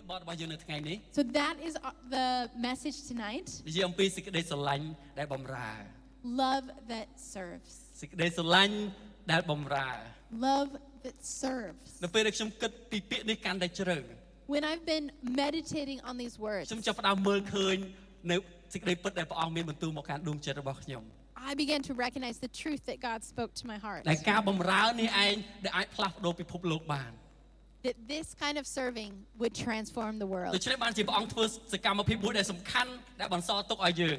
របស់យើងនៅថ្ងៃនេះ So that is uh, the message tonight និយាយអំពីសេចក្តីស្រឡាញ់ដែលបំរើ love that serves. សេចក្តីស្រឡាញ់ដែលបំរើ Love that serves. នៅពេលដែលខ្ញុំគិតពីពាក្យនេះកាន់តែជ្រៅ When I've been meditating on these words, ខ្ញុំចាប់ផ្ដើមមើលឃើញនៅសេចក្តីពិតដែលព្រះអង្គមានបន្ទូលមកកាន់ដួងចិត្តរបស់ខ្ញុំ I began to recognize the truth that God spoke to my heart. ដែលការបំរើនេះឯងដែលអាចផ្លាស់ប្ដូរពិភពលោកបាន That this kind of serving would transform the ដូ world. ច្នេះបានជាព្រះអង្គធ្វើសកម្មភាពមួយដែលសំខាន់ដែលបន្សល់ទុកឲ្យយើង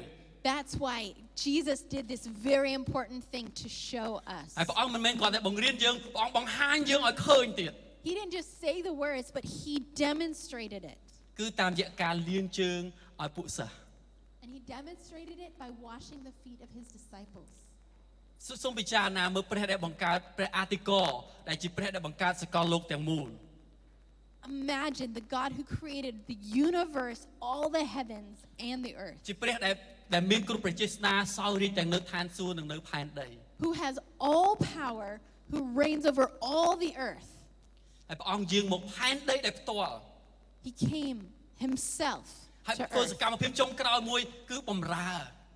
That's why Jesus did this very important thing to show us. ហើយព្រះអង្គមិនមែនគ្រាន់តែបង្រៀនយើងព្រះអង្គបង្ហាញយើងឲ្យឃើញទៀត He didn't just say the words, but he demonstrated it. គឺតាមរយៈការលៀងជើងឲ្យពួកសិស្ស And he demonstrated it by washing the feet of his disciples. សូសូមពិចារណាមើលព្រះដែលបង្កើតព្រះអាទិកោដែលជាព្រះដែលបង្កើតសកលលោកទាំងមូល Imagine the God who created the universe, all the heavens, and the earth, ជាព្រះដែលដែលមានគ្រប់ប្រជាស្នាសោយរាជទាំងនៅឋានសួគ៌និងនៅផែនដី who has all power, who reigns over all the earth. ហើយព្រះអង្គយាងមកផែនដីដែលផ្ទាល់ He came himself ហើយ to ធ្វើស earth. កម្មភាពចុងក្រោយមួយគឺបំរើ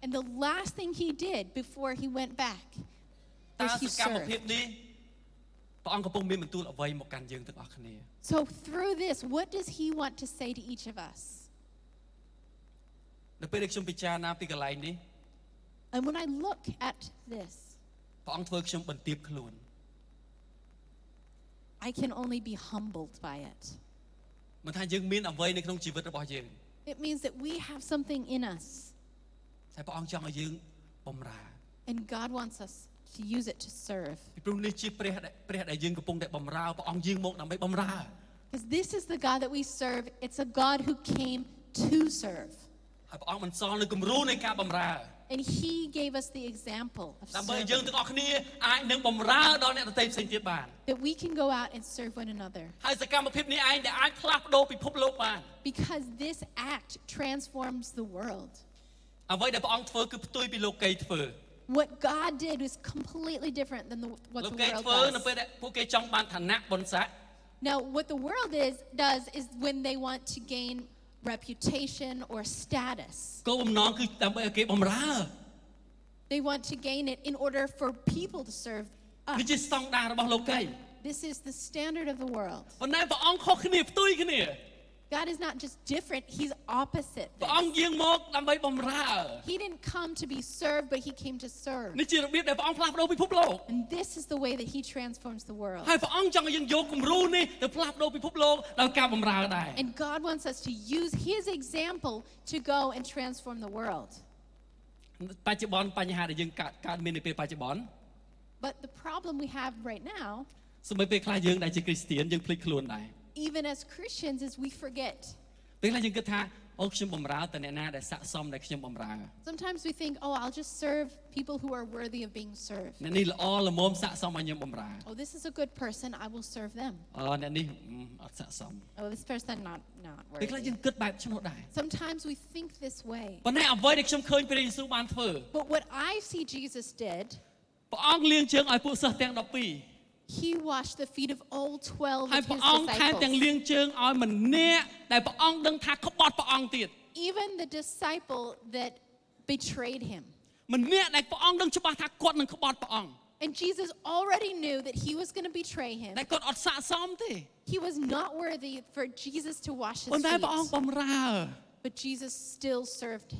And the last thing he did before he went back តើ was he សកម្មភាព served. នេះព្រះអង្គកំពុងមានបន្ទូលអ្វីមកកាន់យើងទាំងអស់គ្នា So through this, what does he want to say to each of us? នៅពេលដែលខ្ញុំពិចារណាពីកន្លែងនេះ And when I look at this, ព្រះអង្គធ្វើខ្ញុំបន្ទាបខ្លួន I can only be humbled by it. មិនថាយើងមានអ្វីនៅក្នុងជីវិតរបស់យើង It means that we have something in us, តែព្រះអង្គចង់ឲ្យយើងបំរើ and God wants us to use it to serve. ពីព្រោះនេះជាព្រះដែលព្រះដែលយើងកំពុងតែបំរើព្រះអង្គយាងមកដើម្បីបំរើ Because this is the God that we serve. It's a God who came to serve. ហើយព្រះអង្គបានសល់នៅគំរូនៃការបំរើ And he gave us the example of ដើម្បីយើង serving, ទាំងអស់គ្នាអាចនឹងបំរើដល់អ្នកដទៃផ្សេងទៀតបាន that we can go out and serve one another. ហើយសកម្មភាពនេះឯងដែលអាចផ្លាស់ប្ដូរពិភពលោកបាន Because this act transforms the world. អ្វីដែលព្រះអង្គធ្វើគឺផ្ទុយពីលោកីយ៍ធ្វើ What God did was completely different than the, what លោ the កីយ៍ world ធ្វើនៅពេល does. ដែលពួកគេចង់បានឋានៈបុណ្យស័ក្តិ Now, what the world is, does is when they want to gain reputation or status. គោលបំណងគឺដើម្បីឲ្យគេបំរើ They want to gain it in order for people to serve នេះជា us. ស្តង់ដាររបស់លោកីយ៍ This is the standard of the world. ប៉ុន្តែព្រះអង្គខុសគ្នាផ្ទុយគ្នា God is not just different, He's opposite. ព្រះអង្គយាងមកដើម្បីបំរើ He didn't come to be served, but He came to serve. នេះជារបៀបដែលព្រះអង្គផ្លាស់ប្ដូរពិភពលោក And this is the way that He transforms the world. ហើយព្រះអង្គចង់ឲ្យយើងយកគំរូនេះទៅផ្លាស់ប្ដូរពិភពលោកដោយការបំរើដែរ And God wants us to use His example to go and transform the world. បច្ចុប្បន្នបញ្ហាដែលយើងកើតកើតមាននៅពេលបច្ចុប្បន្ន But the problem we have right now, សម្បីពេលខ្លះយើងដែលជាគ្រីស្ទានយើងភ្លេចខ្លួនដែរ even as Christians, is we forget. ពេលខ្លះយើងគិតថាអូខ្ញុំបំរើតអ្នកណាដែលស័ក្តិសមដែលខ្ញុំបំរើ Sometimes we think, oh, I'll just serve people who are worthy of being served. អ្នកនេះល្អល្មមស័ក្តិសមឲ្យខ្ញុំបំរើ Oh, this is a good person, I will serve them. អូអ្នកនេះអឺអត់ស័ក្តិសម Oh, this person not not ពេលខ្លះយើ worthy. ងគិតបែបឆ្នោតដែរ Sometimes we think this way. ប៉ុន្តែអ្វីដែលខ្ញុំឃើញព្រះយេស៊ូវបានធ្វើ But what I see Jesus did, ព្រះអង្គលៀងជើងឲ្យពួកសិស្សទាំង12 he washed the feet of all 12 ហើយ of ព្រះ his អង្គថែមទាំងលៀ disciples. ងជើងឲ្យម្នាក់ដែលព្រះអង្គដឹងថាក្បត់ព្រះអង្គទៀត Even the disciple that betrayed him. ម្នាក់ដែលព្រះអង្គដឹងច្បាស់ថាគាត់នឹងក្បត់ព្រះអង្គ And Jesus already knew that he was going to betray him. តែលគាត់អត់ស័ក្តិសមទេ He was not worthy for Jesus to wash his ប៉ុន្តែព្រះអង្គ feet. បំរើ But Jesus still served.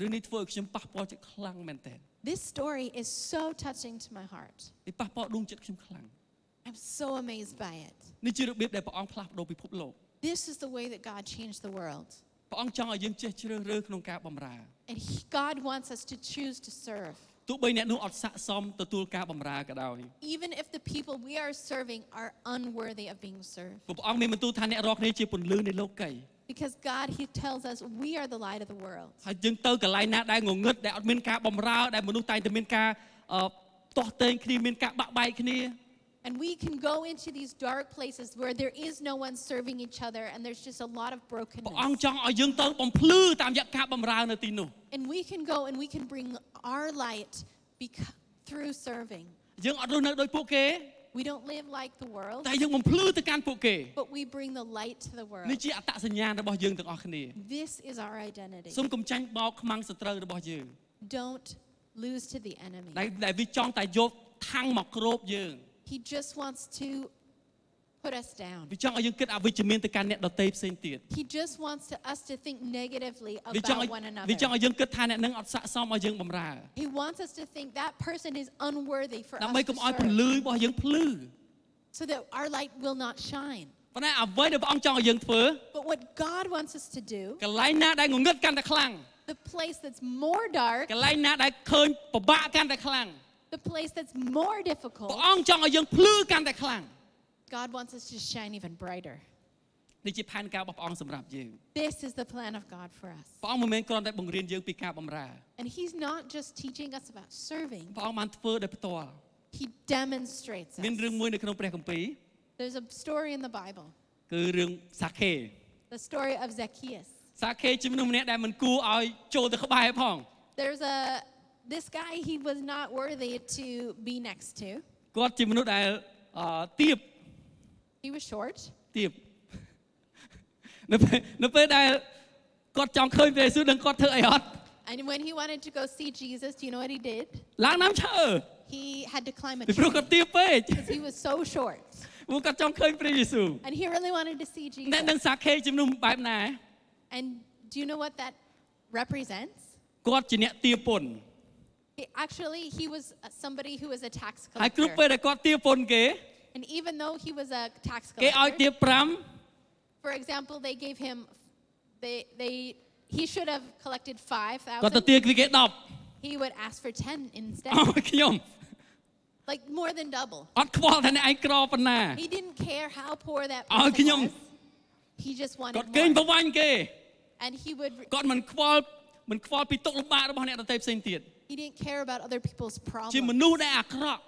រឿងនេះធ្វើឲ្យខ្ញុំប៉ះពាល់ចិត្តខ្លាំងមែនទែន This story is so touching to my heart. វាប៉ះពាល់ដួងចិត្តខ្ញុំខ្លាំង I'm so amazed by it. នេះជារបៀបដែលព្រះអង្គផ្លាស់ប្ដូរពិភពលោក This is the way that God changed the world. ព្រះអង្គចង់ឲ្យយើងចេះជ្រើសរើសក្នុងការបម្រើ And he, God wants us to choose to serve. ទោះបីអ្នកនោះអត់ស័ក្តិសមទទួលការបម្រើក៏ដោយ even if the people we are serving are unworthy of being served. ព្រោះព្រះអង្គមានបន្ទូលថាអ្នករាល់គ្នាជាពន្លឺនៃលោកីយ៍ Because God, He tells us we are the light of the world. ហើយយើងទៅកន្លែងណាដែលងងឹតដែលអត់មានការបម្រើដែលមនុស្សតែងតែមានការអឺទាស់ទែងគ្នាមានការបាក់បែកគ្នា And we can go into these dark places where there is no one serving each other and there's just a lot of ព្រះអង្គ brokenness. ចង់ឲ្យយើងទៅបំភ្លឺតាមរយៈការបម្រើនៅទីនោះ And we can go and we can bring our light bec- through serving. យើងអត់រស់នៅដោយពួកគេ We don't live like the world, តែយើងបំភ្លឺទៅកាន់ពួកគេ but we bring the light to the នេះ world. ជាអត្តសញ្ញាណរបស់យើងទាំងអស់គ្នា This is our identity. សូមកុំចាញ់បោកខ្មាំងសត្រូវរបស់យើង Don't lose to the enemy. ដែលដែលវាចង់តែយកថាំងមកគ្របយើង He just wants to put us down. វាចង់ឲ្យយើងគិតអវិជ្ជមានទៅកាន់អ្នកដទៃផ្សេងទៀត He just wants to, us to think negatively វាចង់ឲ្យ about one វាចង់ another. ឲ្យយើងគិតថាអ្នកនឹងអត់ស័ក្តិសមឲ្យយើងបំរើ He wants us to think that person is unworthy for ដើម្បី us កុំឲ្យ to ពលឺ serve, របស់យើងភ្លឺ so that our light will not shine. ប៉ុន្តែអ្វីដែលព្រះអង្គចង់ឲ្យយើងធ្វើ But what God wants us to do, កន្លែងណាដែលងងឹតកាន់តែខ្លាំង the place that's more dark, កន្លែងណាដែលឃើញពិបាកកាន់តែខ្លាំង the place that's more ព្រះ difficult, អង្គចង់ឲ្យយើងភ្លឺកាន់តែខ្លាំង God wants us to shine even brighter. នេះជាផែនការរបស់ព្រះអង្គសម្រាប់យើង This is the plan of God for us. ព្រះអង្គមិនមែនគ្រាន់តែបង្រៀនយើងពីការបម្រើ And He's not just teaching us about serving, ព្រះអង្គបានធ្វើដោយផ្ទាល់ He demonstrates មានរឿង us. មួយនៅក្នុងព្រះគម្ពីរ There's a story in the Bible, គឺរឿងសាខេ the story of Zacchaeus. សាខេជាមនុស្សម្នាក់ដែលមិនគួរឲ្យចូលទៅក្បែរផង There's a this guy he was not worthy to be next to. គាត់ជាមនុស្សដែលអឺទៀប He was short. ទៀប នៅពេលនៅពេលដែលគាត់ចង់ឃើញព្រះយេស៊ូវដឹងគាត់ធ្វើអីអត់ And when he wanted to go see Jesus, do you know what he did? ឡើងដើមឈើ He had to climb a ពីព្រោះ tree គាត់ទៀបពេក because he was so short. ព្រោះគាត់ចង់ឃើញព្រះយេស៊ូវ And he really wanted to see អ្នកនឹង Jesus. សាខេជំនុំបែបណា And do you know what that represents? គាត់ជាអ្នកទារពន្ធ He- actually, he was uh, somebody who was a tax ហើយគ្រប់ពេល collector. ដែលគាត់ទារពន្ធគេ And even though he was a tax គេឲ្យ collector, ទារ for example, they gave him they they he should have collected 5គាត់ទៅ 5,000. ទារពីគេ10 He would ask for 10 instead. អោខ្ញុំ Like more than double. អត់ខ្វល់ថាអ្នកឯងក្រប៉ុណ្ណា He didn't care how poor that Oh, person Kinyong. was. He just គា wanted ត់កេង more. ប្រវាញ់គេ And he would re- គាត់មិនខ្វល់មិនខ្វល់ពីទុកលំបាករបស់អ្នកដទៃផ្សេងទៀត he didn't care about other people's ជាម problems. នុស្សដែលអាក្រក់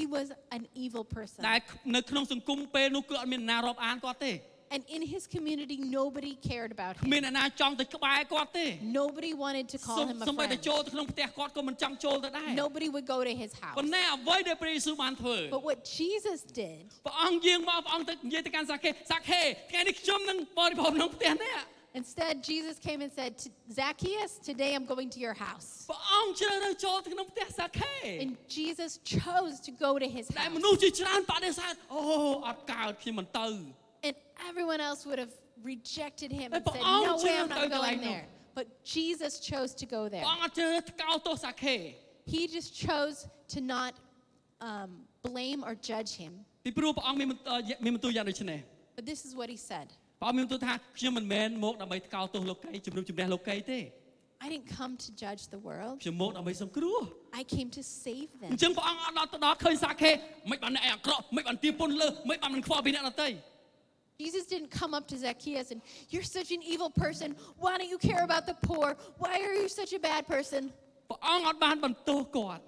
He was an evil person. ដែលនៅក្នុងសង្គមពេលនោះគឺអត់មានអ្នកណារាប់អានគាត់ទេ And in his community nobody cared about គ្មាន him. អ្នកណាចង់ទៅក្បែរគាត់ទេ Nobody wanted to សូ call ម him a សូម្បីតែ friend. ចូលទៅក្នុងផ្ទះគាត់ក៏មិនចង់ចូលទៅដែរ Nobody would go to his ប៉ុ house. ន្តែអ្វីដែលព្រះយេស៊ូវបានធ្វើ But what Jesus did ព្រះអង្គយាងមកព្រះអង្គទៅនិយាយទៅកាន់សាខេសាខេថ្ងៃនេះខ្ញុំនឹងបរិភោគក្នុងផ្ទះនេះ instead Jesus came and said to Zacchaeus, today I'm going to your house. ព្រះអង្គជ្រើសរើសចូលទៅក្នុងផ្ទះសាខេ And Jesus chose to go to his តែល house. មនុស្សជាច្រើនបដិសេធអូអត់កើតខ្ញុំមិនទៅ And everyone else would have rejected him Ay, and pa- said, ang No way, sinabi I'm tayo not kay going Lino. there. But Jesus chose to go there. ព្រះអង្គអត់ជ្រើសរើសថ្កោលទោសសាខេ He just chose to not um, blame or judge him. ពីព្រោះព្រះអង្គមានបន្ទអឺមានបន្ទូលយ៉ាងដូចនេះ But this is what he said ព្រះអង្គមានបន្ទូលថាខ្ញុំមិនមែនមកដើម្បីថ្កោលទោសលោកីជំរុំជំនះលោកីទេ I didn't come to judge the world, ខ្ញុំមកដើម្បីសង្គ្រោះ I came to save អ them. ញ្ចឹងព្រះអង្គអត់ដល់ទៅដល់ឃើញសាខេមិនបានអ្នកឯងអាក្រក់មិនបានទារពន្ធលើមិនបានមិនខ្វល់ពីអ្នកដទៃ Jesus didn't come up to Zacchaeus and, You're such an evil person. Why don't you care about the poor? Why are you such a bad person? ព្រះអង្គអត់បានបន្ទោសគាត់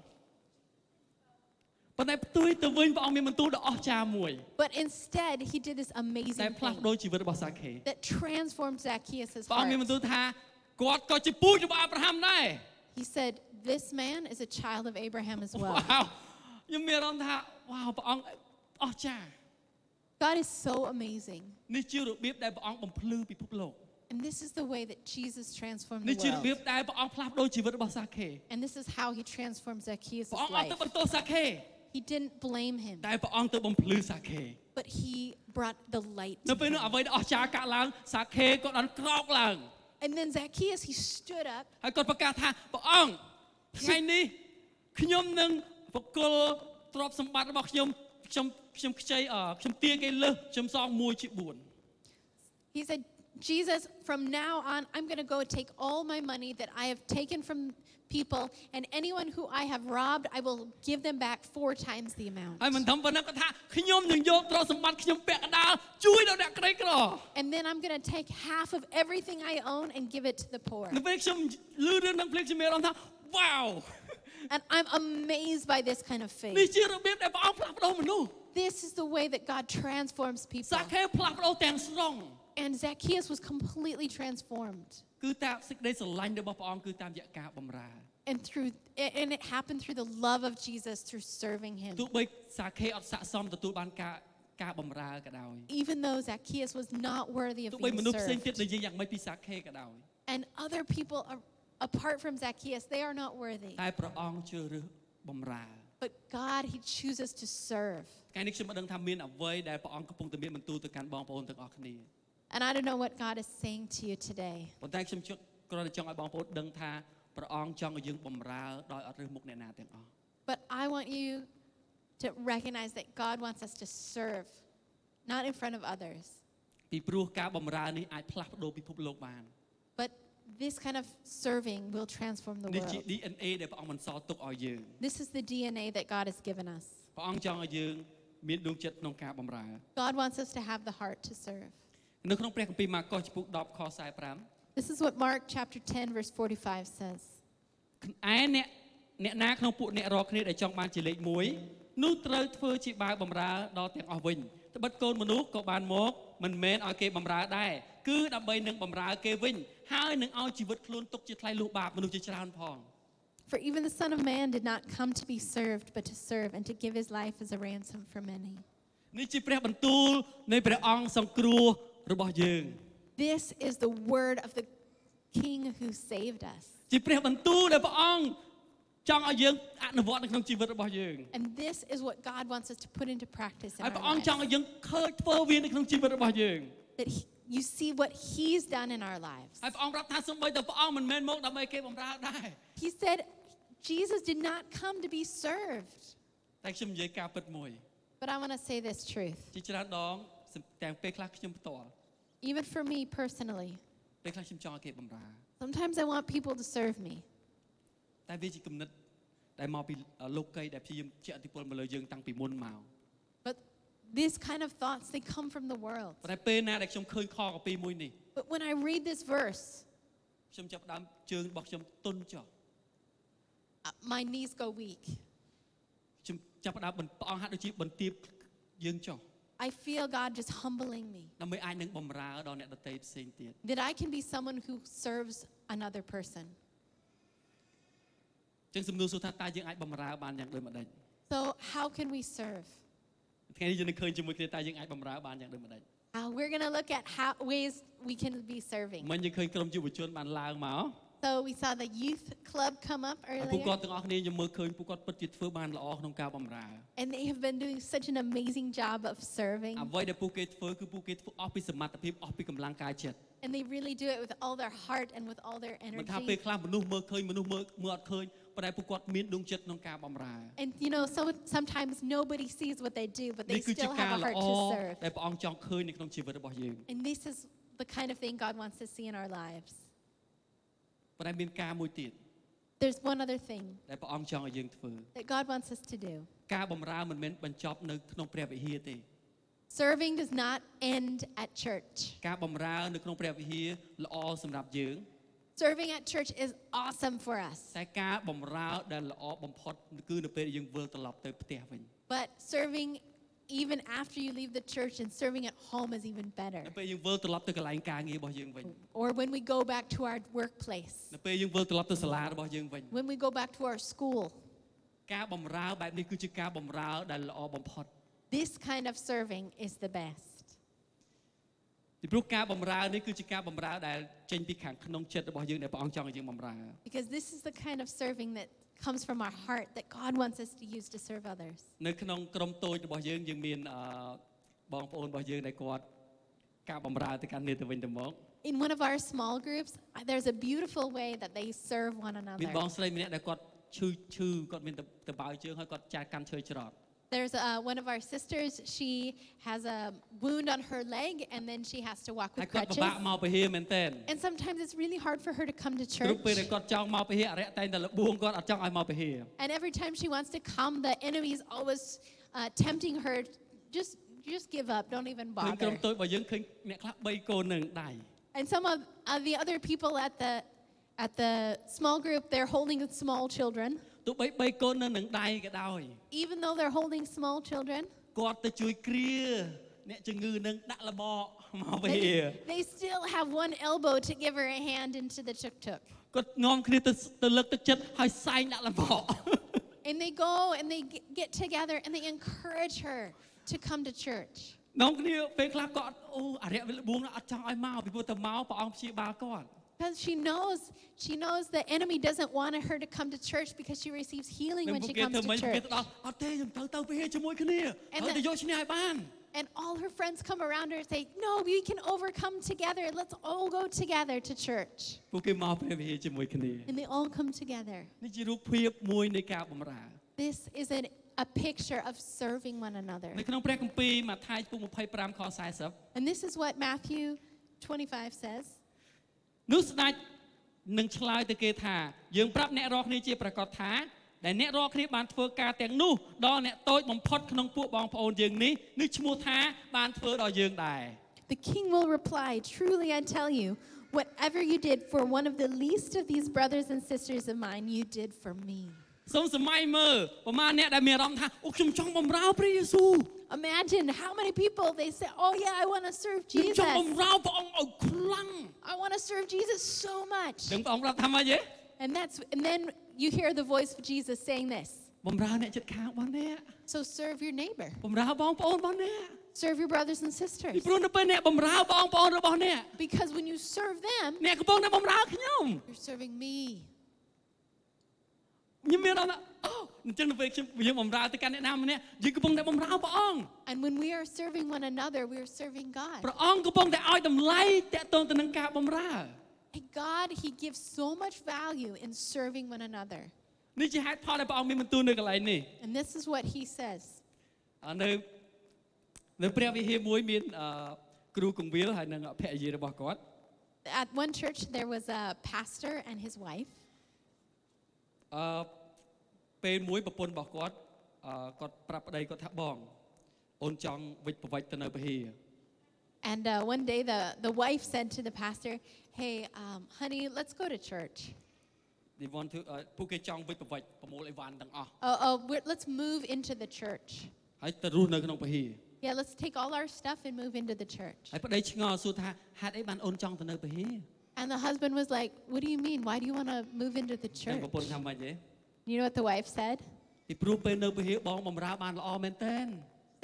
ប៉ុន្តែផ្ទុយទៅវិញព្រះអង្គមានបន្ទូលដ៏អស្ចារ្យមួយ But instead, he did this តែ amazing ផ្លាស់ thing ប្ដូរជីវិតរបស់សាខេ that transformed Zacchaeus' ព្រះអង្គមាន heart. បន្ទូលថាគាត់ក៏ជាពូជរបស់អាប់រ៉ាហាំដែរ He said, This man is a child of Abraham as well. វ៉ាវខ្ញុំមានអារម្មណ៍ថាវ៉ាវព្រះអង្គអស្ចារ្យ God is so amazing. នេះជារបៀបដែលព្រះអង្គបំភ្លឺពិភពលោក And this is the way that Jesus transformed នេះជា the របៀប world. ដែលព្រះអង្គផ្លាស់ប្ដូរជីវិតរបស់សាខេ And this is how he transformed Zacchaeus' ព្រះអង្គអត់ life. ទៅបន្ទោសសាខេ He didn't blame him, តែព្រះអង្គទៅបំភ្លឺសាខេ but he brought the light. នៅ to ពេលនោះ him. អ្វីដែលអស្ចារ្យកើតឡើងសាខេក៏បានក្រោកឡើង And then Zacchaeus, he stood up ហើយគាត់ប្រកាសថាព្រះអង្គថ្ងៃនេះខ្ញុំនឹងបកគលទ្រព្យសម្បត្តិរបស់ខ្ញុំខ្ញុំខ្ញុំខ្ចីអឺខ្ញុំទារគេលើសខ្ញុំសងមួយជា4 He said, Jesus, from now on, I'm going to go take all my money that I have taken from people, and anyone who I have robbed, I will give them back four times the amount. ហើយមិនធំប៉ុណ្ណឹងគាត់ថាខ្ញុំនឹងយកទ្រព្យសម្បត្តិខ្ញុំពាក់កណ្ដាលជួយដល់អ្នកក្រីក្រ And then I'm going to take half of everything I own and give it to the poor. នៅពេលខ្ញុំឮរឿងនឹងភ្លេចខ្ញុំមានអារម្មណ៍ថាវ៉ាវ And I'm amazed by this kind of នេះ faith. ជារបៀបដែលព្រះអង្គផ្លាស់ប្ដូរមនុស្ស This is the way that God transforms people. សាខេផ្លាស់ប្ដូរទាំងស្រុង And Zacchaeus was completely transformed. គឺតាមសេចក្តីស្រឡាញ់របស់ព្រះអង្គគឺតាមរយៈការបម្រើ And through and it happened through the love of Jesus through serving him. ទោះបីសាខេអត់ស័ក្តិសមទទួលបានការការបម្រើក៏ដោយ Even though Zacchaeus was not worthy of ទោះបីមនុ being ស្សផ្សេង served. ទៀតនិយាយយ៉ាងម៉េចពីសាខេក៏ដោយ And other people a- apart from Zacchaeus, they are not worthy. តែព្រះអង្គជ្រើសរើសបម្រើ But God, he chooses to serve. ថ្ងៃនេះខ្ញុំមិនដឹងថាមានអ្វីដែលព្រះអង្គកំពុងតែមានបន្ទូលទៅកាន់បងប្អូនទាំងអស់គ្នា And I don't know what God is saying to you today. ប៉ុន្តែខ្ញុំជឿគ្រាន់តែចង់ឲ្យបងប្អូនដឹងថាព្រះអង្គចង់ឲ្យយើងបម្រើដោយអត់រើសមុខអ្នកណាទាំងអស់ But I want you to recognize that God wants us to serve, not in front of others. ពីព្រោះការបម្រើនេះអាចផ្លាស់ប្ដូរពិភពលោកបាន But this kind of serving will transform the នេះជា world. DNA ដែលព្រះអង្គបានសល់ទុកឲ្យយើង This is the DNA that God has given us. ព្រះអង្គចង់ឲ្យយើងមានដួងចិត្តក្នុងការបម្រើ God wants us to have the heart to serve. នៅក្នុងព្រះគម្ពីរម៉ាកុសចំពុក10ខ45 This is what Mark chapter 10, verse 45 says. ឯអ្នកអ្នកណាក្នុងពួកអ្នករាល់គ្នាដែលចង់បានជាលេខ1នោះត្រូវធ្វើជាបាវបម្រើដល់ទាំងអស់វិញត្បិតកូនមនុស្សក៏បានមកមិនមែនឲ្យគេបម្រើដែរគឺដើម្បីនឹងបម្រើគេវិញហើយនឹងឲ្យជីវិតខ្លួនទុកជាថ្លៃលុះបាបមនុស្សជាច្រើនផង For even the Son of Man did not come to be served, but to serve and to give his life as a ransom for many. នេះជាព្រះបន្ទូលនៃព្រះអង្គសង្គ្រោះរបស់យើង This is the word of the King who saved us. ជាព្រះបន្ទូលដែលព្រះអង្គចង់ឲ្យយើងអនុវត្តនៅក្នុងជីវិតរបស់យើង And this is what God wants us to put into practice in ហើយ our ព្រះអង្គចង់ lives. ឲ្យយើងឃើញធ្វើវានៅក្នុងជីវិតរបស់យើង That he, you see what he's done in our lives. ហើយព្រះអង្គប្រាប់ថាសូម្បីតែព្រះអង្គមិនមែនមកដើម្បីគេបំរើដែរ He said, Jesus did not come to be served. តែខ្ញុំនិយាយការពិតមួយ But I want to say this truth. ជាច្រើនដងទាំងពេលខ្លះខ្ញុំផ្ទាល់ Even for me personally, ពេលខ្លះខ្ញុំចង់ឲ្យគេបំរើ sometimes I want people to serve me. តែវាជាគំនិតដែលមកពីលោកកីដែលព្យាយាមជះឥទ្ធិពលមកលើយើងតាំងពីមុនមក But these kind of thoughts, they come from the world. ប៉ុន្តែពេលណាដែលខ្ញុំឃើញខកពីមួយនេះ But when I read this verse, ខ្ញុំចាប់ផ្ដើមជើងរបស់ខ្ញុំទន់ចុះ uh, my knees go weak. ខ្ញុំចាប់ផ្ដើមបន្ព្រះអង្គហាក់ដូចជាបន្ទាបយើងចុះ I feel God just humbling me ដើម្បីអាចនឹងបំរើដល់អ្នកដទៃផ្សេងទៀត that I can be someone who serves another person. អញ្ចឹងសំណួរសួរថាតើយើងអាចបំរើបានយ៉ាងដូចម្ដេច So, how can we serve? ថ្ងៃនេះយើងនឹងឃើញជាមួយគ្នាតើយើងអាចបំរើបានយ៉ាងដូចម្ដេច Uh, we're going to look at how, ways we can be serving. មិញយើងឃើញក្រុមយុវជនបានឡើងមក So, we saw the youth club come up ហើយពួកគាត់ earlier, ទាំងអស់គ្នាខ្ញុំមើលឃើញពួកគាត់ពិតជាធ្វើបានល្អក្នុងការបម្រើ and they have been doing such an amazing job of serving. អ្វីដែលពួកគេធ្វើគឺពួកគេធ្វើអស់ពីសមត្ថភាពអស់ពីកម្លាំងកាយចិត្ត And they really do it with all their heart and with all their មិនថាពេល energy. ខ្លះមនុស្សមើលឃើញមនុស្សមើលមើលអត់ឃើញប៉ុន្តែពួកគាត់មានដួងចិត្តក្នុងការបម្រើ And you know, so sometimes nobody sees what they do, but នេះ they គឺជា still ការ have a ល្អ heart to serve. ដែលព្រះអង្គចង់ឃើញនៅក្នុងជីវិតរបស់យើង And this is the kind of thing God wants to see in our lives. ប៉ុន្តែមានការមួយទៀត There's one other thing ដែលព្រះអង្គចង់ឲ្យយើងធ្វើ that God wants us to do. ការបម្រើមិនមែនបញ្ចប់នៅក្នុងព្រះវិហារទេ Serving does not end at church. ការបម្រើនៅក្នុងព្រះវិហារល្អសម្រាប់យើង Serving at church is awesome for us, តែការបម្រើដែលល្អបំផុតគឺនៅពេលដែលយើងវិលត្រឡប់ទៅផ្ទះវិញ but serving even after you leave the church and serving at home is even better. នៅពេលយើងវិលត្រឡប់ទៅកន្លែងការងាររបស់យើងវិញ Or when we go back to our workplace, នៅពេលយើងវិលត្រឡប់ទៅសាលារបស់យើងវិញ when we go back to our school. ការបម្រើបែបនេះគឺជាការបម្រើដែលល្អបំផុត This kind of serving is the best. ពីព្រោះការបម្រើនេះគឺជាការបម្រើដែលចេញពីខាងក្នុងចិត្តរបស់យើងដែលព្រះអង្គចង់ឲ្យយើងបម្រើ Because this is the kind of serving that comes from our heart that God wants us to use to serve others. នៅក្នុងក្រុមតូចរបស់យើងយើងមានអឺបងប្អូនរបស់យើងដែលគាត់ការបម្រើទៅកាន់គ្នាទៅវិញទៅមក In one of our small groups, uh, there's a beautiful way that they serve one មាន another. បងស្រីម្នាក់ដែលគាត់ឈឺឈឺគាត់មានតបៅជើងហើយគាត់ចាកាន់ឈើច្រត់ There's uh, one of our sisters, she has a wound on her leg and then she has to walk ហើយ with គាត់ពិ crutches. បាកមកពហិរមែនតើ And sometimes it's really hard for her to come to ព្រោះ church. ពេលដែលគាត់ចង់មកពហិរអរិយតែងតែលបួងគាត់អត់ចង់ឲ្យមកពហិរ And every time she wants to come, the enemy's always uh, tempting her, just, just give up, don't even ក្នុងក្រុម bother. តូចរបស់យើងឃើញអ្នកខ្លះ3កូននឹងដៃ And some of uh, the other people at the at the small group, they're holding small children. ទោះបី3កូននៅនឹងដៃក៏ដោយ Even though they're holding small children, គាត់ទៅជួយគ្រា អ្នកជំងឺនឹងដាក់លបមកវា They, they still have one elbow to give her a hand into the tuk tuk. គាត់ងំគ្នាទៅទៅលើកទឹកចិត្តហើយសែងដាក់លប And they go and they g- get together and they encourage her to come to church. នំគ្នាពេលខ្លះគាត់អូអរិយវិលបួងអត់ចង់ឲ្យមកពីព្រោះតែមកព្រះអង្គព្យាបាលគាត់ Because she knows, she knows the enemy doesn't want her to come to church because she receives healing តែ when ពួក she គេ comes ធ្វើមិនពួ to កគេ church. ទៅដល់អត់ទេខ្ញុំទៅទៅវាជាមួយគ្នាហើ And យ the- ទៅយកឈ្នះឲ្យបាន And all her friends come around her and say, No, we can overcome together. Let's all go together to church. ពួកគេមកព្រះវិហារជាមួយគ្នា And they all come together. នេះជារូបភាពមួយនៃការបម្រើ This is an, a picture of serving one another. នៅក្នុងព្រះគម្ពីរម៉ាថាយពុក25ខ40 And this is what Matthew 25 says. នោះស្ដេចនឹងឆ្លើយទៅគេថាយើងប្រាប់អ្នករាល់គ្នាជាប្រកាសថាដែលអ្នករាល់គ្នាបានធ្វើការទាំងនោះដល់អ្នកតូចបំផុតក្នុងពួកបងប្អូនយើងនេះនេះឈ្មោះថាបានធ្វើដល់យើងដែរ The king will reply, Truly I tell you, whatever you did for one of the least of these brothers and sisters of mine, you did for me. សូមសម័យមើលប្រមាណអ្នកដែលមានអារម្មណ៍ថាអូខ្ញុំចង់បំរើព្រះយេស៊ូវ Imagine how many people they say, Oh, yeah, I want to serve ខ្ញុំច Jesus. ង់បំរើព្រះអង្គឲ្យខ្លាំង I want to serve Jesus so much. ដឹងព្រះអង្គប្រាប់ថាម៉េចទេ And that's and then you hear the voice of Jesus saying this. បំរើអ្នកជិតខាងរបស់អ្នក So serve your neighbor. បំរើបងប្អូនរបស់អ្នក Serve your brothers and ពី sisters. ព្រោះនៅពេលអ្នកបំរើបងប្អូនរបស់អ្នក Because when you serve them, អ្នកកំពុងតែបំរើខ្ញុំ you're serving me. ខ្ញុំមានអារម្មណ៍ថាអូអញ្ចឹងនៅពេលខ្ញុំយើងបំរើទៅកាន់អ្នកណាម្នាក់យើងកំពុងតែបំរើព្រះអង្គ And when we are serving one another, we are serving God. ព្រះអង្គកំពុងតែឲ្យតម្លៃតាក់ទងទៅនឹងការបំរើ And God, He gives so much value in serving one another. នេះជាហេតុផលដែលព្រះអង្គមានបន្ទូលនៅកន្លែងនេះ And this is what He says. អ่าនៅនៅព្រះវិហារមួយមានអឺគ្រូកង្វាលហើយនឹងភរិយារបស់គាត់ At one church, there was a pastor and his wife. អឺពេលមួយប្រពន្ធរបស់គាត់អឺគាត់ប្រាប់ប្តីគាត់ថាបងអូនចង់វិច្ចប្រវិច្ចទៅនៅព្រះវិហារ And uh, one day, the, the wife said to the pastor, Hey, um, honey, let's go to church. they want to អ่าពួកគេចង់វិច្ចប្រវិច្ចប្រមូលអីវ៉ាន់ទាំងអស់ Oh, oh we're, let's move into the church. ហើយទៅរស់នៅក្នុងព្រះវិហារ Yeah, let's take all our stuff and move into the church. ហើយប្តីឆ្ងល់សួរថាហេតុអីបានអូនចង់ទៅនៅព្រះវិហារ And the husband was like, What do you mean? Why do you want to move into the តែ church? ប្រពន្ធថាម៉េចទេ You know what the wife said? ពីព្រោះពេលនៅព្រះវិហារបងបំរើបានល្អមែនតើ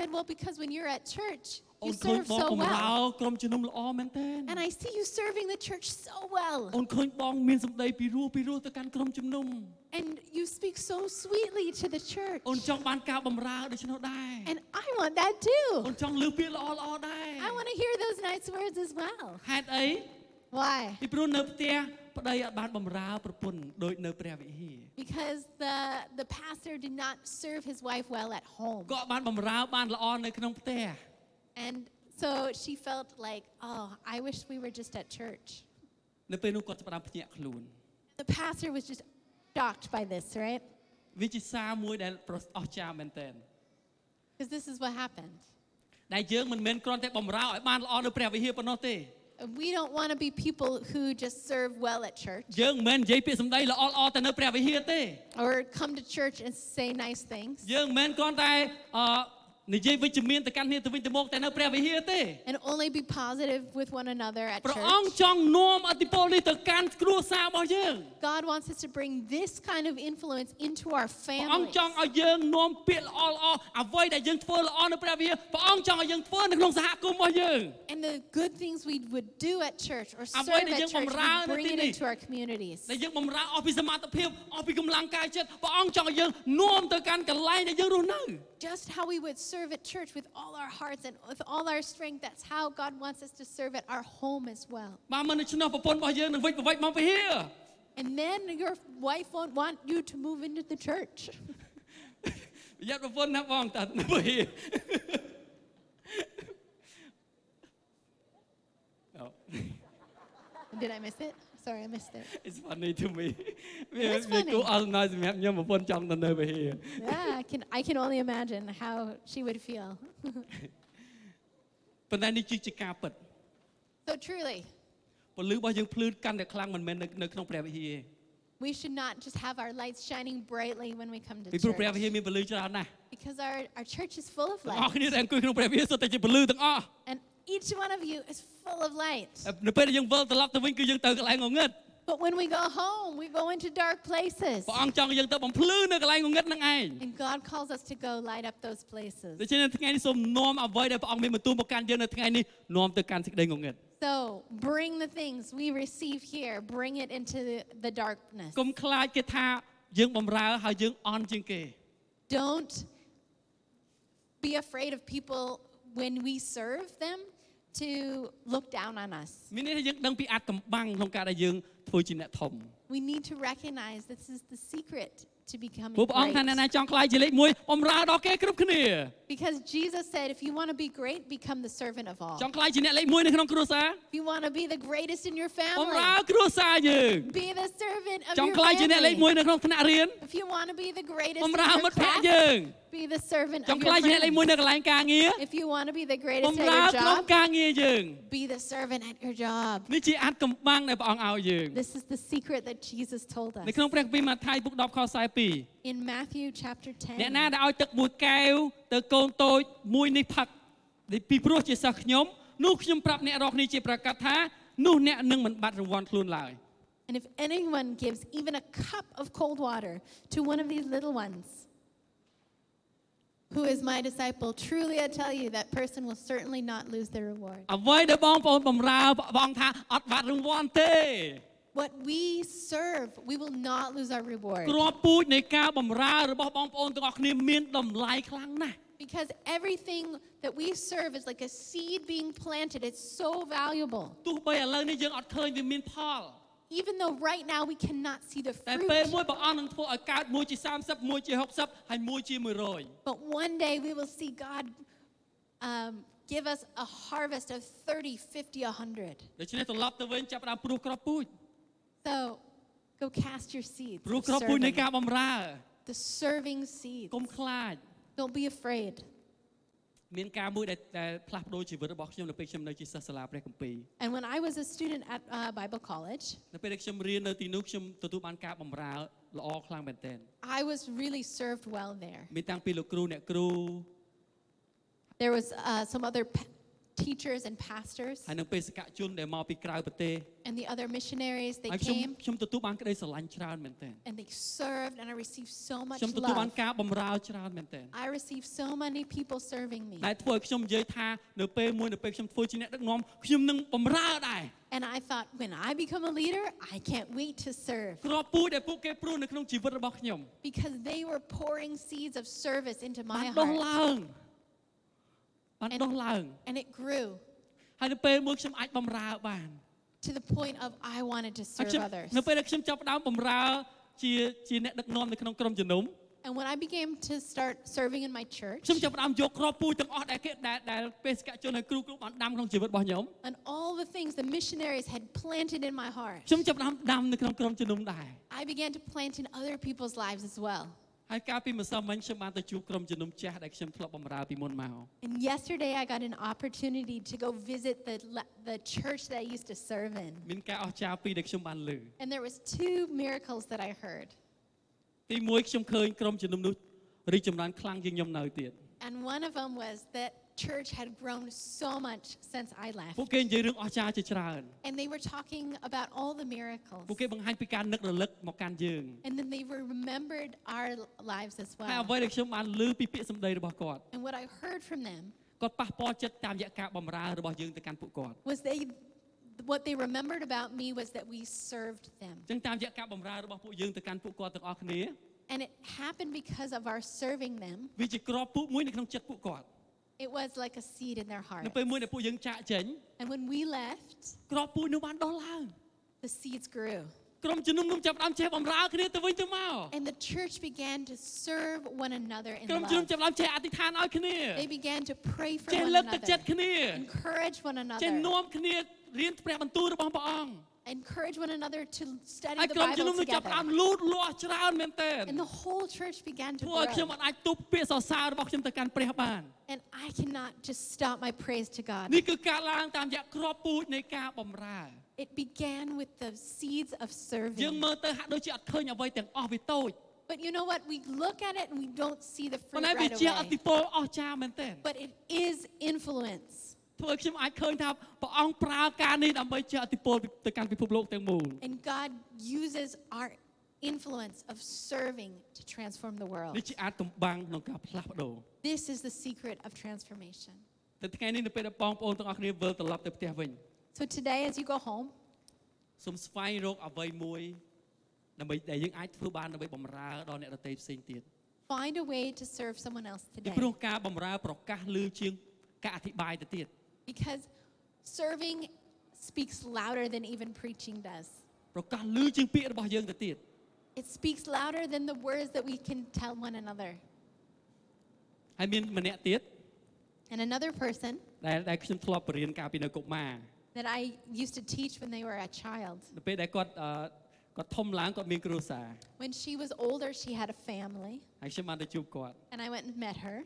Said, Well, because when you're at church, អូ you នឃើញ serve បង so បំរើ well. ក្រុមជំនុំល្អមែនតើ And I see you serving the church so well. អូនឃើញបងមានសម្ដីពីរោះពីរោះទៅកាន់ក្រុមជំនុំ And you speak so sweetly to the church. អូនចង់បានការបំរើដូច្នោះដែរ And I want that អូ too. នចង់លើពាក្យល្អល្អដែរ I want to hear those nice words as well. ហេតុអី Why? ពីព្រោះនៅផ្ទះប្តីអត់បានបំរើប្រពន្ធដូចនៅព្រះវិហារ Because the, the pastor did not serve his wife well at home. ក៏អត់បានបំរើបានល្អនៅក្នុងផ្ទះ And so she felt like, oh, I wish we were just at church. នៅពេលនោះគាត់ចាប់ផ្ដើមភ្ញាក់ខ្លួន The pastor was just shocked by this, right? វាជាសារមួយដែលប្រអស្ចារ្យមែនទែន Because this is what happened. ដែលយើងមិនមែនគ្រាន់តែបំរើឲ្យបានល្អនៅព្រះវិហារប៉ុណ្ណោះទេ We don't want to be people who just serve well at church យើងមិនមែននិយាយពាក្យសម្ដីល្អល្អតែនៅព្រះវិហារទេ or come to church and say nice things យើងមិនមែនគ្រាន់តែអឺនិយាយវិជ្ជមានទៅកាន់គ្នាទៅវិញទៅមកតែនៅព្រះវិហារទេ and only be positive with one another at ព្រះអង្គ church. ចង់នាំអធិពលនេះទៅកាន់គ្រួសាររបស់យើង God wants us to bring this kind of influence into our ព្រះអង្គ families. ចង់ឲ្យយើងនាំពាក្យល្អល្អអ្វីដែលយើងធ្វើល្អនៅព្រះវិហារព្រះអង្គចង់ឲ្យយើងធ្វើនៅក្នុងសហគមន៍របស់យើង And the good things we would do at church or Avoid serve the at young church, bumrah we na bring it tini. into our communities. ដែលយើងបំរើអស់ពីសមត្ថភាពអស់ពីកម្លាំងកាយចិត្តព្រះអង្គចង់ឲ្យយើងនាំទៅកាន់កន្លែងដែលយើងរស់នៅ Just how we would serve at church with all our hearts and with all our strength, that's how God wants us to serve at our home as well. បើមិនដូច្នោះប្រពន្ធរបស់យើងនឹងវិច្ចប្រវិច្ចមកព្រះវិហារ And then your wife won't want you to move into the church. ប្រយ័ត្នប្រពន្ធណា បងតើនៅព្រះវិហារអូ Did I miss it? Sorry, I missed it. It's funny to me វា It's វា funny. គួរអត់សំណើចសម្រាប់ខ្ញុំប្រពន្ធចង់ទៅនៅព្រះវិហារ Yeah, I can, I can only imagine how she would feel. ប៉ុន្តែនេះគឺជាការពិត So, truly, ពលឺរបស់យើងភ្លឺកាន់តែខ្លាំងមិនមែននៅនៅក្នុងព្រះវិហារ we should not just have our lights shining brightly when we come ពី to ព្រោះព្រះវិហារ church. មានពលឺច្រើនណាស់ Because because our, our church is full of ទាំងអស់ light. គ្នាដែល អង្គុយក្នុងព្រះវិហារសុទ្ធតែជាពលឺទាំងអស់ And each one of you is full of light. នៅពេលដែលយើងវិលត្រឡប់ទៅវិញគឺយើងទៅកន្លែងងងឹត But when we go home, we go into dark places. ព្រះអង្គចង់ឲ្យយើងទៅបំភ្លឺនៅកន្លែងងងឹតហ្នឹងឯង And God calls us to go light up those places. ដូច្នេះនៅថ្ងៃនេះសូមនាំអ្វីដែលព្រះអង្គមានបន្ទូលមកកាន់យើងនៅថ្ងៃនេះនាំទៅកាន់សេចក្តីងងឹត So bring the things we receive here, bring it into the, the darkness. កុំខ្លាចគេថាយើងបំរើហើយយើងអន់ជាងគេ Don't be afraid of people when we serve them to look down on us. មានន័យថាយើងដឹងពីអាចកំបាំងក្នុងការដែលយើងធ្វើជាអ្នកធំ We need to recognize this is the secret to becoming ព្រោះព្រះអង្គថាអ្នក great. ណាចង់ខ្លាចជាលេខ1បំរើដល់គេគ្រប់គ្នា Because Jesus said, if you want to be great, become the servant of all. ចង់ខ្លាចជាអ្នកលេខ1នៅក្នុងគ្រួសារ If you want to be the greatest in your បំ family, រើគ្រួសារយើង be the servant ច of ង់ your ខ្លាចជាអ្នកលេខ family. 1នៅក្នុងថ្នាក់រៀន If you want to be the greatest បំ in រើមិ your ត្តភក្តិ class, យើង be the servant ច of ង់ your ខ្លាចជាអ្នកលេខ friends. 1នៅកន្លែងការងារ If you want to be the បំ greatest at រើ your ក្នុង job, ការងារយើង be the servant at your job. នេះជាអាចកំបាំងដែលព្រះអង្គឲ្យយើង This is the secret that Jesus told us. នៅក្នុងព្រះគម្ពីរម៉ាថាយពុក10ខ42 In Matthew chapter អ្នកណា 10, ដែលឲ្យទឹកមួយកែវទៅកូនតូចមួយនេះផឹកពីព្រោះជាសិស្សខ្ញុំនោះខ្ញុំប្រាប់អ្នករាល់គ្នាជាប្រកាសថានោះអ្នកនឹងមិនបាត់រង្វាន់ខ្លួនឡើយ and if anyone gives even a cup of cold water to one of these little ones, who is my disciple, truly I tell you, that person will certainly not lose their reward. អ្វីដែលបងប្អូនបំរើព្រះបងថាអត់បាត់រង្វាន់ទេ What we serve, we will not lose our reward. គ្រាប់ពូជនៃការបំរើរបស់បងប្អូនទាំងអស់គ្នាមានតម្លៃខ្លាំងណាស់ Because everything that we serve is like a seed being planted, it's so valuable. ទោះបីឥឡូវនេះយើងអត់ឃើញវាមានផល Even though right now we cannot see the តែពេល fruit, មួយព្រះអង្គនឹងធ្វើឲ្យកើតមួយជា30មួយជា60ហើយមួយជា100 but one day we will see God um, give us a harvest of 30, 50, 100. ដូច្នេះត្រឡប់ទៅវិញចាប់ផ្ដើមព្រោះគ្រាប់ពូជ So go cast your seeds. ព្រោះ of គ្រាប់ពូជនៃ serving, ការបំរើ the serving seeds. កុំខ្លាច Don't be afraid. មានការមួយដែលដែលផ្លាស់ប្ដូរជីវិតរបស់ខ្ញុំនៅពេលខ្ញុំនៅជាសិស្សសាលាព្រះគម្ពីរ And when I was a student at uh, Bible college, នៅពេលដែលខ្ញុំរៀននៅទីនោះខ្ញុំទទួលបានការបម្រើល្អខ្លាំងមែនទែន I was really served well there. មានតាំងពីលោកគ្រូអ្នកគ្រូ There was uh, some other p- teachers and pastors ហើយនឹងបេសកជនដែលមកពីក្រៅប្រទេស and the other missionaries. They ហើយខ្ញុំ came ខ្ញុំទទួលបានក្តីស្រឡាញ់ច្រើនមែនទែន and they served, and I received so much ខ្ញុំទទួលបាន love. ការបម្រើច្រើនមែនទែន I received so many people serving me. ដែលធ្វើឲ្យខ្ញុំនិយាយថានៅពេលមួយនៅពេលខ្ញុំធ្វើជាអ្នកដឹកនាំខ្ញុំនឹងបម្រើដែរ And I thought, when I become a leader, I can't wait to serve. គ្រាប់ពូជដែលពួកគេព្រោះនៅក្នុងជីវិតរបស់ខ្ញុំ Because they were pouring seeds of service into បា my នដុះ heart. ឡើងបាន And- ដុះឡើង And it grew ហើយនៅពេលមួយខ្ញុំអាចបំរើបាន to the point of I wanted to ហើយ serve ខ្ញុំ others. នៅពេលដែលខ្ញុំចាប់ផ្ដើមបំរើជាជាអ្នកដឹកនាំនៅក្នុងក្រុមជំនុំ And when I began to start serving in my church, ខ្ញុំចាប់ផ្ដើមយកគ្រាប់ពូជទាំងអស់ដែលគេដែលដែលបេសកជនហើយគ្រូគ្រូបានដាំក្នុងជីវិតរបស់ខ្ញុំ and all the things the missionaries had planted in my heart, ខ្ញុំចាប់ផ្ដើមដាំនៅក្នុងក្រុមជំនុំដែរ I began to plant in other people's lives as well. ហើយកាលពីម្សិលមិញខ្ញុំបានទៅជួបក្រុមជំនុំចាស់ដែលខ្ញុំធ្លាប់បម្រើពីមុនមក And yesterday, I got an opportunity to go visit the, le- the church that I used to serve in. មានការអស្ចារ្យពីរដែលខ្ញុំបានលើ And there was two miracles that I heard. ទីមួយខ្ញុំឃើញក្រុមជំនុំនោះរីកចម្រើនខ្លាំងជាងខ្ញុំនៅទៀត And one of them was that church had grown so much since I ពួក left. គេនិយាយរឿងអស្ចារ្យជាច្រើន And they were talking about all the miracles. ពួកគេបង្ហាញពីការនឹករលឹកមកកាន់យើង And then they were remembered our lives as ហើយអ្វី well. ដែលខ្ញុំបានលើពីពាក្យសម្ដីរបស់គាត់ And what I heard from them គាត់ប៉ះពាល់ចិត្តតាមរយៈការបម្រើរបស់យើងទៅកាន់ពួកគាត់ was they what they remembered about me was that we served them. អញ្ចឹងតាមរយៈការបម្រើរបស់ពួកយើងទៅកាន់ពួកគាត់ទាំងអស់គ្នា And it happened because of our serving them. វាជាក្របពូជមួយនៅក្នុងចិត្តពួកគាត់ It was like a seed in their នៅ heart. ពេលមួយដែលពួកយើងចាក់ចេញ And when we left, ក្របពូជនោះបានដុះឡើង the seeds grew. ក្រុមជំនុំនោះចាប់ផ្ដើមចេះបម្រើគ្នាទៅវិញទៅមក And the church began to serve one another in ក្រុមជំនុំ love. ចាប់ផ្ដើមចេះអធិដ្ឋានឲ្យគ្នា They began to pray for ចេះ one លើកទឹក another. ចិត្តគ្នា encourage one ចេះ another នាំគ្នារៀនព្រះបន្ទូលរបស់ព្រះអង្គ encourage one another to ហើ study យ the ក្រុមជំនុំ bible នោះចាប់ផ្ដើម together លូតលាស់ច្រើនមែនទែន and the whole church began to ធ្វើឲ្យខ្ញុំអ grow ត់អាចទប់ពាក្យសរសើររបស់ខ្ញុំទៅកាន់ព្រះបាន and i cannot just stop my praise to god នេះគឺការឡើងតាមរយៈក្របពូជនៃការបម្រើ it began with the seeds of យើង serving មើលទៅហាក់ដូចជាអត់ឃើញអ្វីទាំងអស់វាតូច But you know what? We look at it and we don't see the ប៉ុ fruit ន្តែវា right ជាអតិ away. ពលអស្ចារ្យមែនទែន But it is influence. ធ្វើឲ្យខ្ញុំអាចឃើញថាព្រះអង្គប្រើការនេះដើម្បីជាអតិពលទៅកាន់ពិភពលោកទាំងមូល And God uses our influence of serving to transform the នេះ world. ជាអាចតំបាំងក្នុងការផ្លាស់ប្ដូរ This is the secret of transformation. តែថ្ងៃនេះនៅពេលដែលបងប្អូនទាំងអស់គ្នាវិលត្រឡប់ទៅផ្ទះវិញ So today, as you go home, សូមស្វែងរកអ្វីមួយដើម្បីដែលយើងអាចធ្វើបានដើម្បីបំរើដល់អ្នកដទៃផ្សេងទៀត find a way to serve someone else ពី today. ព្រោះការបំរើប្រកាសលឺជាងការអធិប្បាយទៅទៀត Because serving speaks louder than even preaching does. ប្រកាសលឺជាងពាក្យរបស់យើងទៅទៀត It speaks louder than the words that we can tell one another. ហើយមានម្នាក់ទៀត And another person ដែលដែលខ្ញុំធ្លាប់បរៀនកាលពីនៅកុមារ that I used to teach when they were a child, នៅពេលដែលគាត់អឺគាត់ធំឡើងគាត់មានគ្រួសារ when she was older, she had a family, ហើយខ្ញុំបានទៅជួបគាត់ and I went and met her.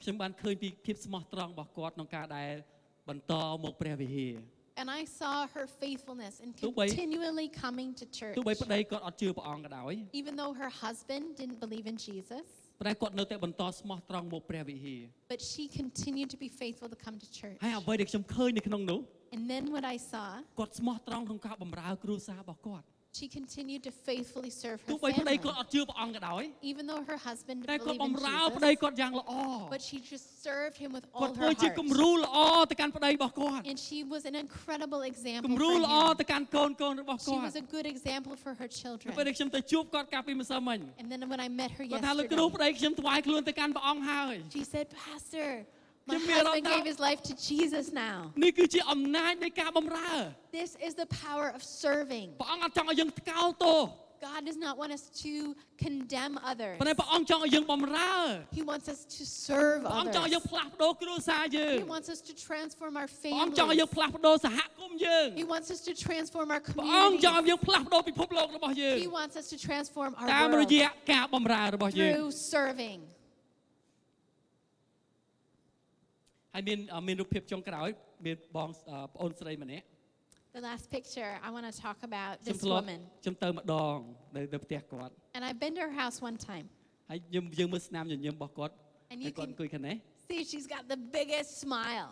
ខ្ញុំបានឃើញពីភាពស្មោះត្រង់របស់គាត់ក្នុងការដែលបន្តមកព្រះវិហារ And I saw her faithfulness and Tú bay- continually coming to church. ទោះបីប្តីគាត់អត់ជឿព្រះអង្គក៏ដោយ Even though her husband didn't believe in Jesus, ប៉ុន្តែគាត់នៅតែបន្តស្មោះត្រង់មកព្រះវិហារ but she continued to be faithful to come to church. ហើយអ្វីដែលខ្ញុំឃើញនៅក្នុងនោះ And then what I saw, គាត់ស្មោះត្រង់ក្នុងការបម្រើគ្រួសាររបស់គាត់ she continued to faithfully serve ទោះ her បីប្តី family. គាត់អត់ជឿព្រះអង្គក៏ដោយ Even though her husband តែ didn't គាត់ believe ប in ម្រើប្តី Jesus, គាត់យ៉ាងល្អ but she just served him with គាត់ all ធ្វើ her ជាគំ heart. រូល្អទៅកាន់ប្តីរបស់គាត់ And she was an incredible គំ example រូ for ល្អ him. ទៅកាន់កូនកូនរបស់ She គាត់ was a good example for her នៅពេលដ children. ែលខ្ញុំទៅជួបគាត់កាលពីម្សិលមិញ And then when I met her គាត់ថាលោកគ្រូ yesterday, ប្តីខ្ញុំថ្វាយខ្លួនទៅកាន់ព្រះអង្គហើយ she said, Pastor, my Give me a husband rundown. gave his life to Jesus now. នេះគឺជាអំណាចនៃការបម្រើ This is the power of serving. ព្រះអង្គអត់ចង់ឲ្យយើងថ្កោលទោស God does not want us to condemn others. ប៉ុន្តែព្រះអង្គចង់ឲ្យយើងបម្រើ He wants us to serve ព្រះអង្គ others. ចង់ឲ្យយើងផ្លាស់ប្ដូរគ្រួសារយើង He wants us to transform our ព្រះអង្គចង់ឲ្យយើង families. ផ្លាស់ប្ដូរសហគមន៍យើង He wants us to transform our ព្រះអង្គច community. ង់ឲ្យយើងផ្លាស់ប្ដូរពិភពលោករបស់យើង He wants us to transform តាម our រ world យៈការបម្រើរបស់យើង through serving. ហើយមានអ่าមានរូបភាពចុងក្រោយមានបងអ่าប្អូនស្រីម្នាក់ The last picture, I want to talk about ខ្ញុំ this ធ្លាប់ woman. ខ្ញុំទៅម្ដងនៅនៅផ្ទះគាត់ And I've been to her house one time. ហើយយើងយើងមើលស្នាមញញឹមរបស់គាត់ And ហើ you យគាត់អ can ង្គុយខាងនេះ see she's got the biggest smile.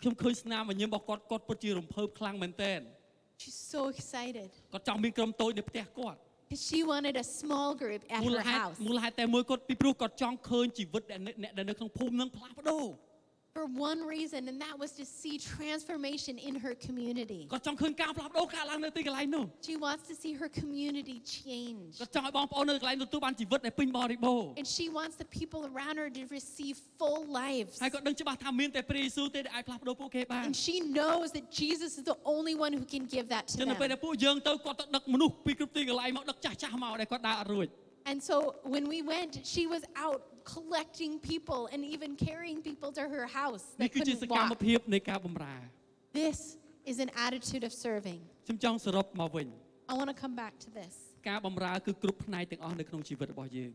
ខ្ញុំឃើញស្នាមញញឹមរបស់គាត់គាត់ពិតជារំភើបខ្លាំងមែនទែន She's so excited គាត់ចង់មានក្រុមតូចនៅផ្ទះគាត់ because she wanted a small group at មូល her ហេតុ house. មូលហេតុតែមួយគាត់ពីព្រោះគាត់ចង់ឃើញជីវិតដែលនៅអ្នកដែលនៅក្នុងភូមិនឹងផ្លាស់ប្ដូរ for one reason, and that was to see transformation in her community. គាត់ចង់ឃើញការផ្លាស់ប្ដូរកើតឡើងនៅទីកន្លែងនោះ She wants to see her community change. គាត់ចង់ឲ្យបងប្អូននៅកន្លែងទទួលបានជីវិតដែលពេញបរិបូរណ៍ And she wants the people around her to receive full lives. ហើយគាត់ដឹងច្បាស់ថាមានតែព្រះយេស៊ូវទេដែលអាចផ្លាស់ប្ដូរពួកគេបាន And she knows that Jesus is the only one who can give that to ចឹងនៅពេល them. ដែលពួកយើងទៅគាត់ទៅដឹកមនុស្សពីគ្រប់ទីកន្លែងមកដឹកចាស់ចាស់ៗមកដែលគាត់ដើរអត់រួច And so when we went, she was out collecting people and even carrying people to her house នេះ that គឺជាស couldn't កម្ម walk. ភាពនៃការបម្រើ This is an attitude of serving. ខ្ញុំចង់សរុបមកវិញ I want to come back to this. ការបម្រើគឺគ្រប់ផ្នែកទាំងអស់នៅក្នុងជីវិតរបស់យើង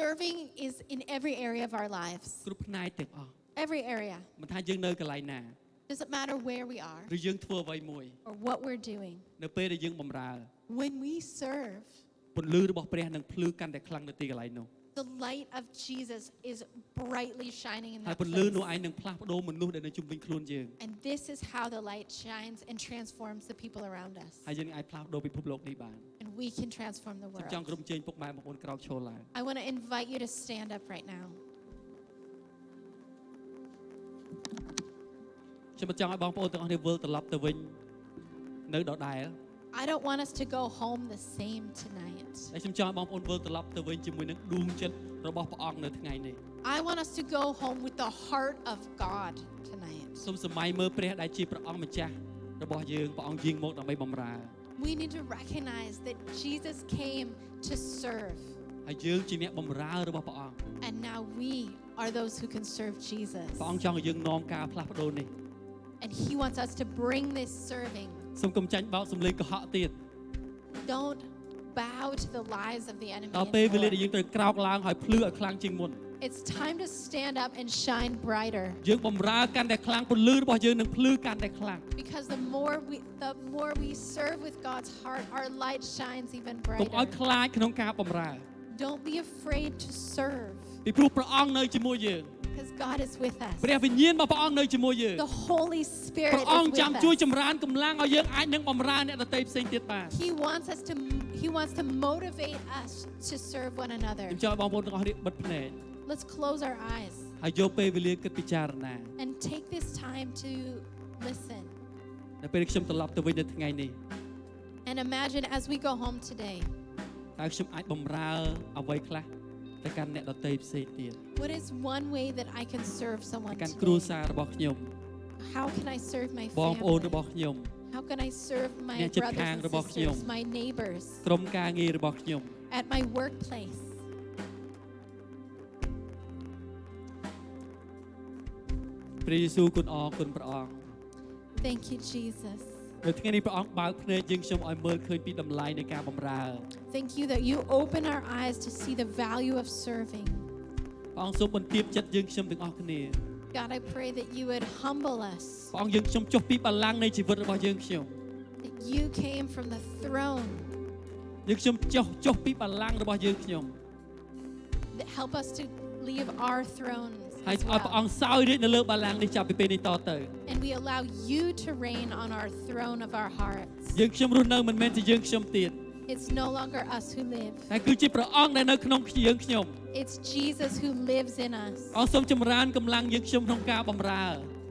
Serving is in every area of our lives, គ្រប់ផ្នែកទាំងអស់ every area. មិនថាយើងនៅកន្លែងណា Doesn't matter where we are. ឬយើងធ្វើអ្វីមួយ or what we're doing. នៅពេលដែលយើងបម្រើ When we serve, ពន្លឺរបស់ព្រះនឹងភ្លឺកាន់តែខ្លាំងនៅទីកន្លែងនោះ the light of Jesus is brightly shining in ហើយ that ពន្លឺនោះឯ place. ងនឹងផ្លាស់ប្ដូរមនុស្សដែលនៅជុំវិញខ្លួនយើង And this is how the light shines and transforms the people around us. ហើយយើងអាចផ្លាស់ប្ដូរពិភពលោកនេះបាន And we can transform the ខ្ញុំចង់ក្រុ world. មជើងពុកម៉ែបងប្អូនក្រោកឈរឡើង I want to invite you to stand up right now. ខ្ញុំមិនចង់ឲ្យបងប្អូនទាំងអស់គ្នាវិលត្រឡប់ទៅវិញនៅដដែល I don't want us to go home the same tonight. ហើយខ្ញុំចង់ឲ្យបងប្អូនវិលត្រឡប់ទៅវិញជាមួយនឹងដួងចិត្តរបស់ព្រះអង្គនៅថ្ងៃនេះ I want us to go home with the heart of God tonight. សូមសម័យមើលព្រះដែលជាព្រះអង្គម្ចាស់របស់យើងព្រះអង្គយាងមកដើម្បីបម្រើ We need to recognize that Jesus came to serve, ហើយយើងជាអ្នកបម្រើរបស់ព្រះអង្គ and now we are those who can serve Jesus. ព្រះអង្គចង់ឲ្យយើងនាំការផ្លាស់ប្ដូរនេះ And he wants us to bring this serving. សូមកុំចាញ់បោកសម្លេងកុហកទៀត Don't bow to the lies of the enemy. ដល់ពេលវេលា anymore. ដែលយើងត្រូវក្រោកឡើងហើយភ្លឺឲ្យខ្លាំងជាងមុន It's time to stand up and shine brighter យើងបំរើកាន់តែខ្លាំងពន្លឺរបស់យើងនឹងភ្លឺកាន់តែខ្លាំង because the more we the more we serve with God's heart, our light shines even កុំឲ្យ brighter. ខ្លាចក្នុងការបំរើ Don't be afraid to serve ពីព្រោះព្រះអង្គនៅជាមួយយើង because God is with us. ព្រះវិញ្ញាណរបស់ព្រះអង្គនៅជាមួយយើង The Holy ព្រះ Spirit អ is ង្គ with ចាំជួយ us. ចម្រើនកម្លាំងឲ្យយើងអាចនឹងបំរើអ្នកដទៃផ្សេងទៀតបាន He wants us to he wants to motivate us to serve one another. ខ្ញុំចង់ឲ្យបងប្អូនទាំងអស់នេះបិទភ្នែក Let's close our eyes ហើយយកពេលវេលាគិតពិចារណា and take this time to listen នៅពេលខ្ញុំត្រឡប់ទៅវិញនៅថ្ងៃនេះ and imagine as we go home today, តើខ្ញុំអាចបំរើអ្វីខ្លះទៅកាន់អ្នកដទៃផ្សេងទៀត what is one way that I can serve someone កាន់គ្រួ today? សាររបស់ខ្ញុំ How can I serve my បងប្អូន family? របស់ខ្ញុំ How can I serve my Nè, chụp brothers hàng and rồi bọc sisters, nhiều. my neighbors, ក្រុមការងាររបស់ខ្ញុំ at my workplace? ព្រះយេស៊ូវគុណអរគុណព្រះអង្គ Thank you, Jesus. នៅថ្ងៃនេះព្រះអង្គបើកភ្នែកយើងខ្ញុំឲ្យមើលឃើញពីតម្លៃនៃការបម្រើ Thank you that you open our eyes to see the value of serving. ព្រះអង្គសូមបន្ទាបចិត្តយើងខ្ញុំទាំងអស់គ្នា God, I pray that you would humble us, ព្រះអង្គយើងខ្ញុំចុះពីបល្ល័ង្កនៃជីវិតរបស់យើងខ្ញុំ that you came from the throne, យើងខ្ញុំចុះចុះពីបល្ល័ង្ករបស់យើងខ្ញុំ that help us to leave our thrones ហើយ as ឲ្យព្រះអ well. ង្គសោយរាជនៅលើបល្ល័ង្កនេះចាប់ពីពេលនេះតទៅ And we allow you to reign on our throne of our hearts. យើងខ្ញុំរស់នៅមិនមែនជាយើងខ្ញុំទៀត It's no longer us who live, តែគឺជាព្រះអង្គដែលនៅក្នុងយើងខ្ញុំ it's Jesus who lives in us. ព្រះអង្គសូមចម្រើនកម្លាំងយើងខ្ញុំក្នុងការបម្រើ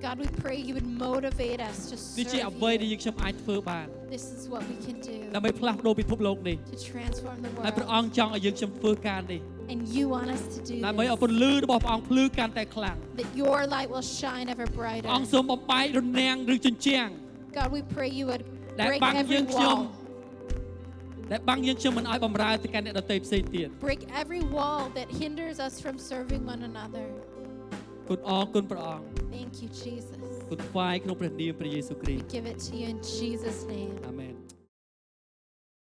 God, we pray you would motivate us to នេះ serve ជាអ្វីដែល you. យើងខ្ញុំអាចធ្វើបាន This is what we can do ដើម្បីផ្លាស់ប្ដូរពិភពលោកនេះ to transform the ហើយព្រះអង្គ world. ចង់ឲ្យយើងខ្ញុំធ្វើការនេះ And you want us to do ដើម្បីឲ្យ this, ពន្លឺរបស់ព្រះអង្គភ្លឺកាន់តែខ្លាំង that your light will shine ever ព្រះ brighter. អង្គសូមបំបែករនាំងឬជញ្ជាំង God, we pray you would ដែល break បាំងយើ every ងខ្ញុំ wall. ដែលបាំងយើងខ្ញុំមិនឲ្យបំរើទៅកាន់អ្នកដទៃផ្សេងទៀត Break every wall that hinders us from serving one another. គុណអរគុណព្រះអង្គ Thank you, Jesus. គុណថ្វាយក្នុងព្រះនាមព្រះយេស៊ូវគ្រីស្ទ Give it to you in Jesus' name. អាមែន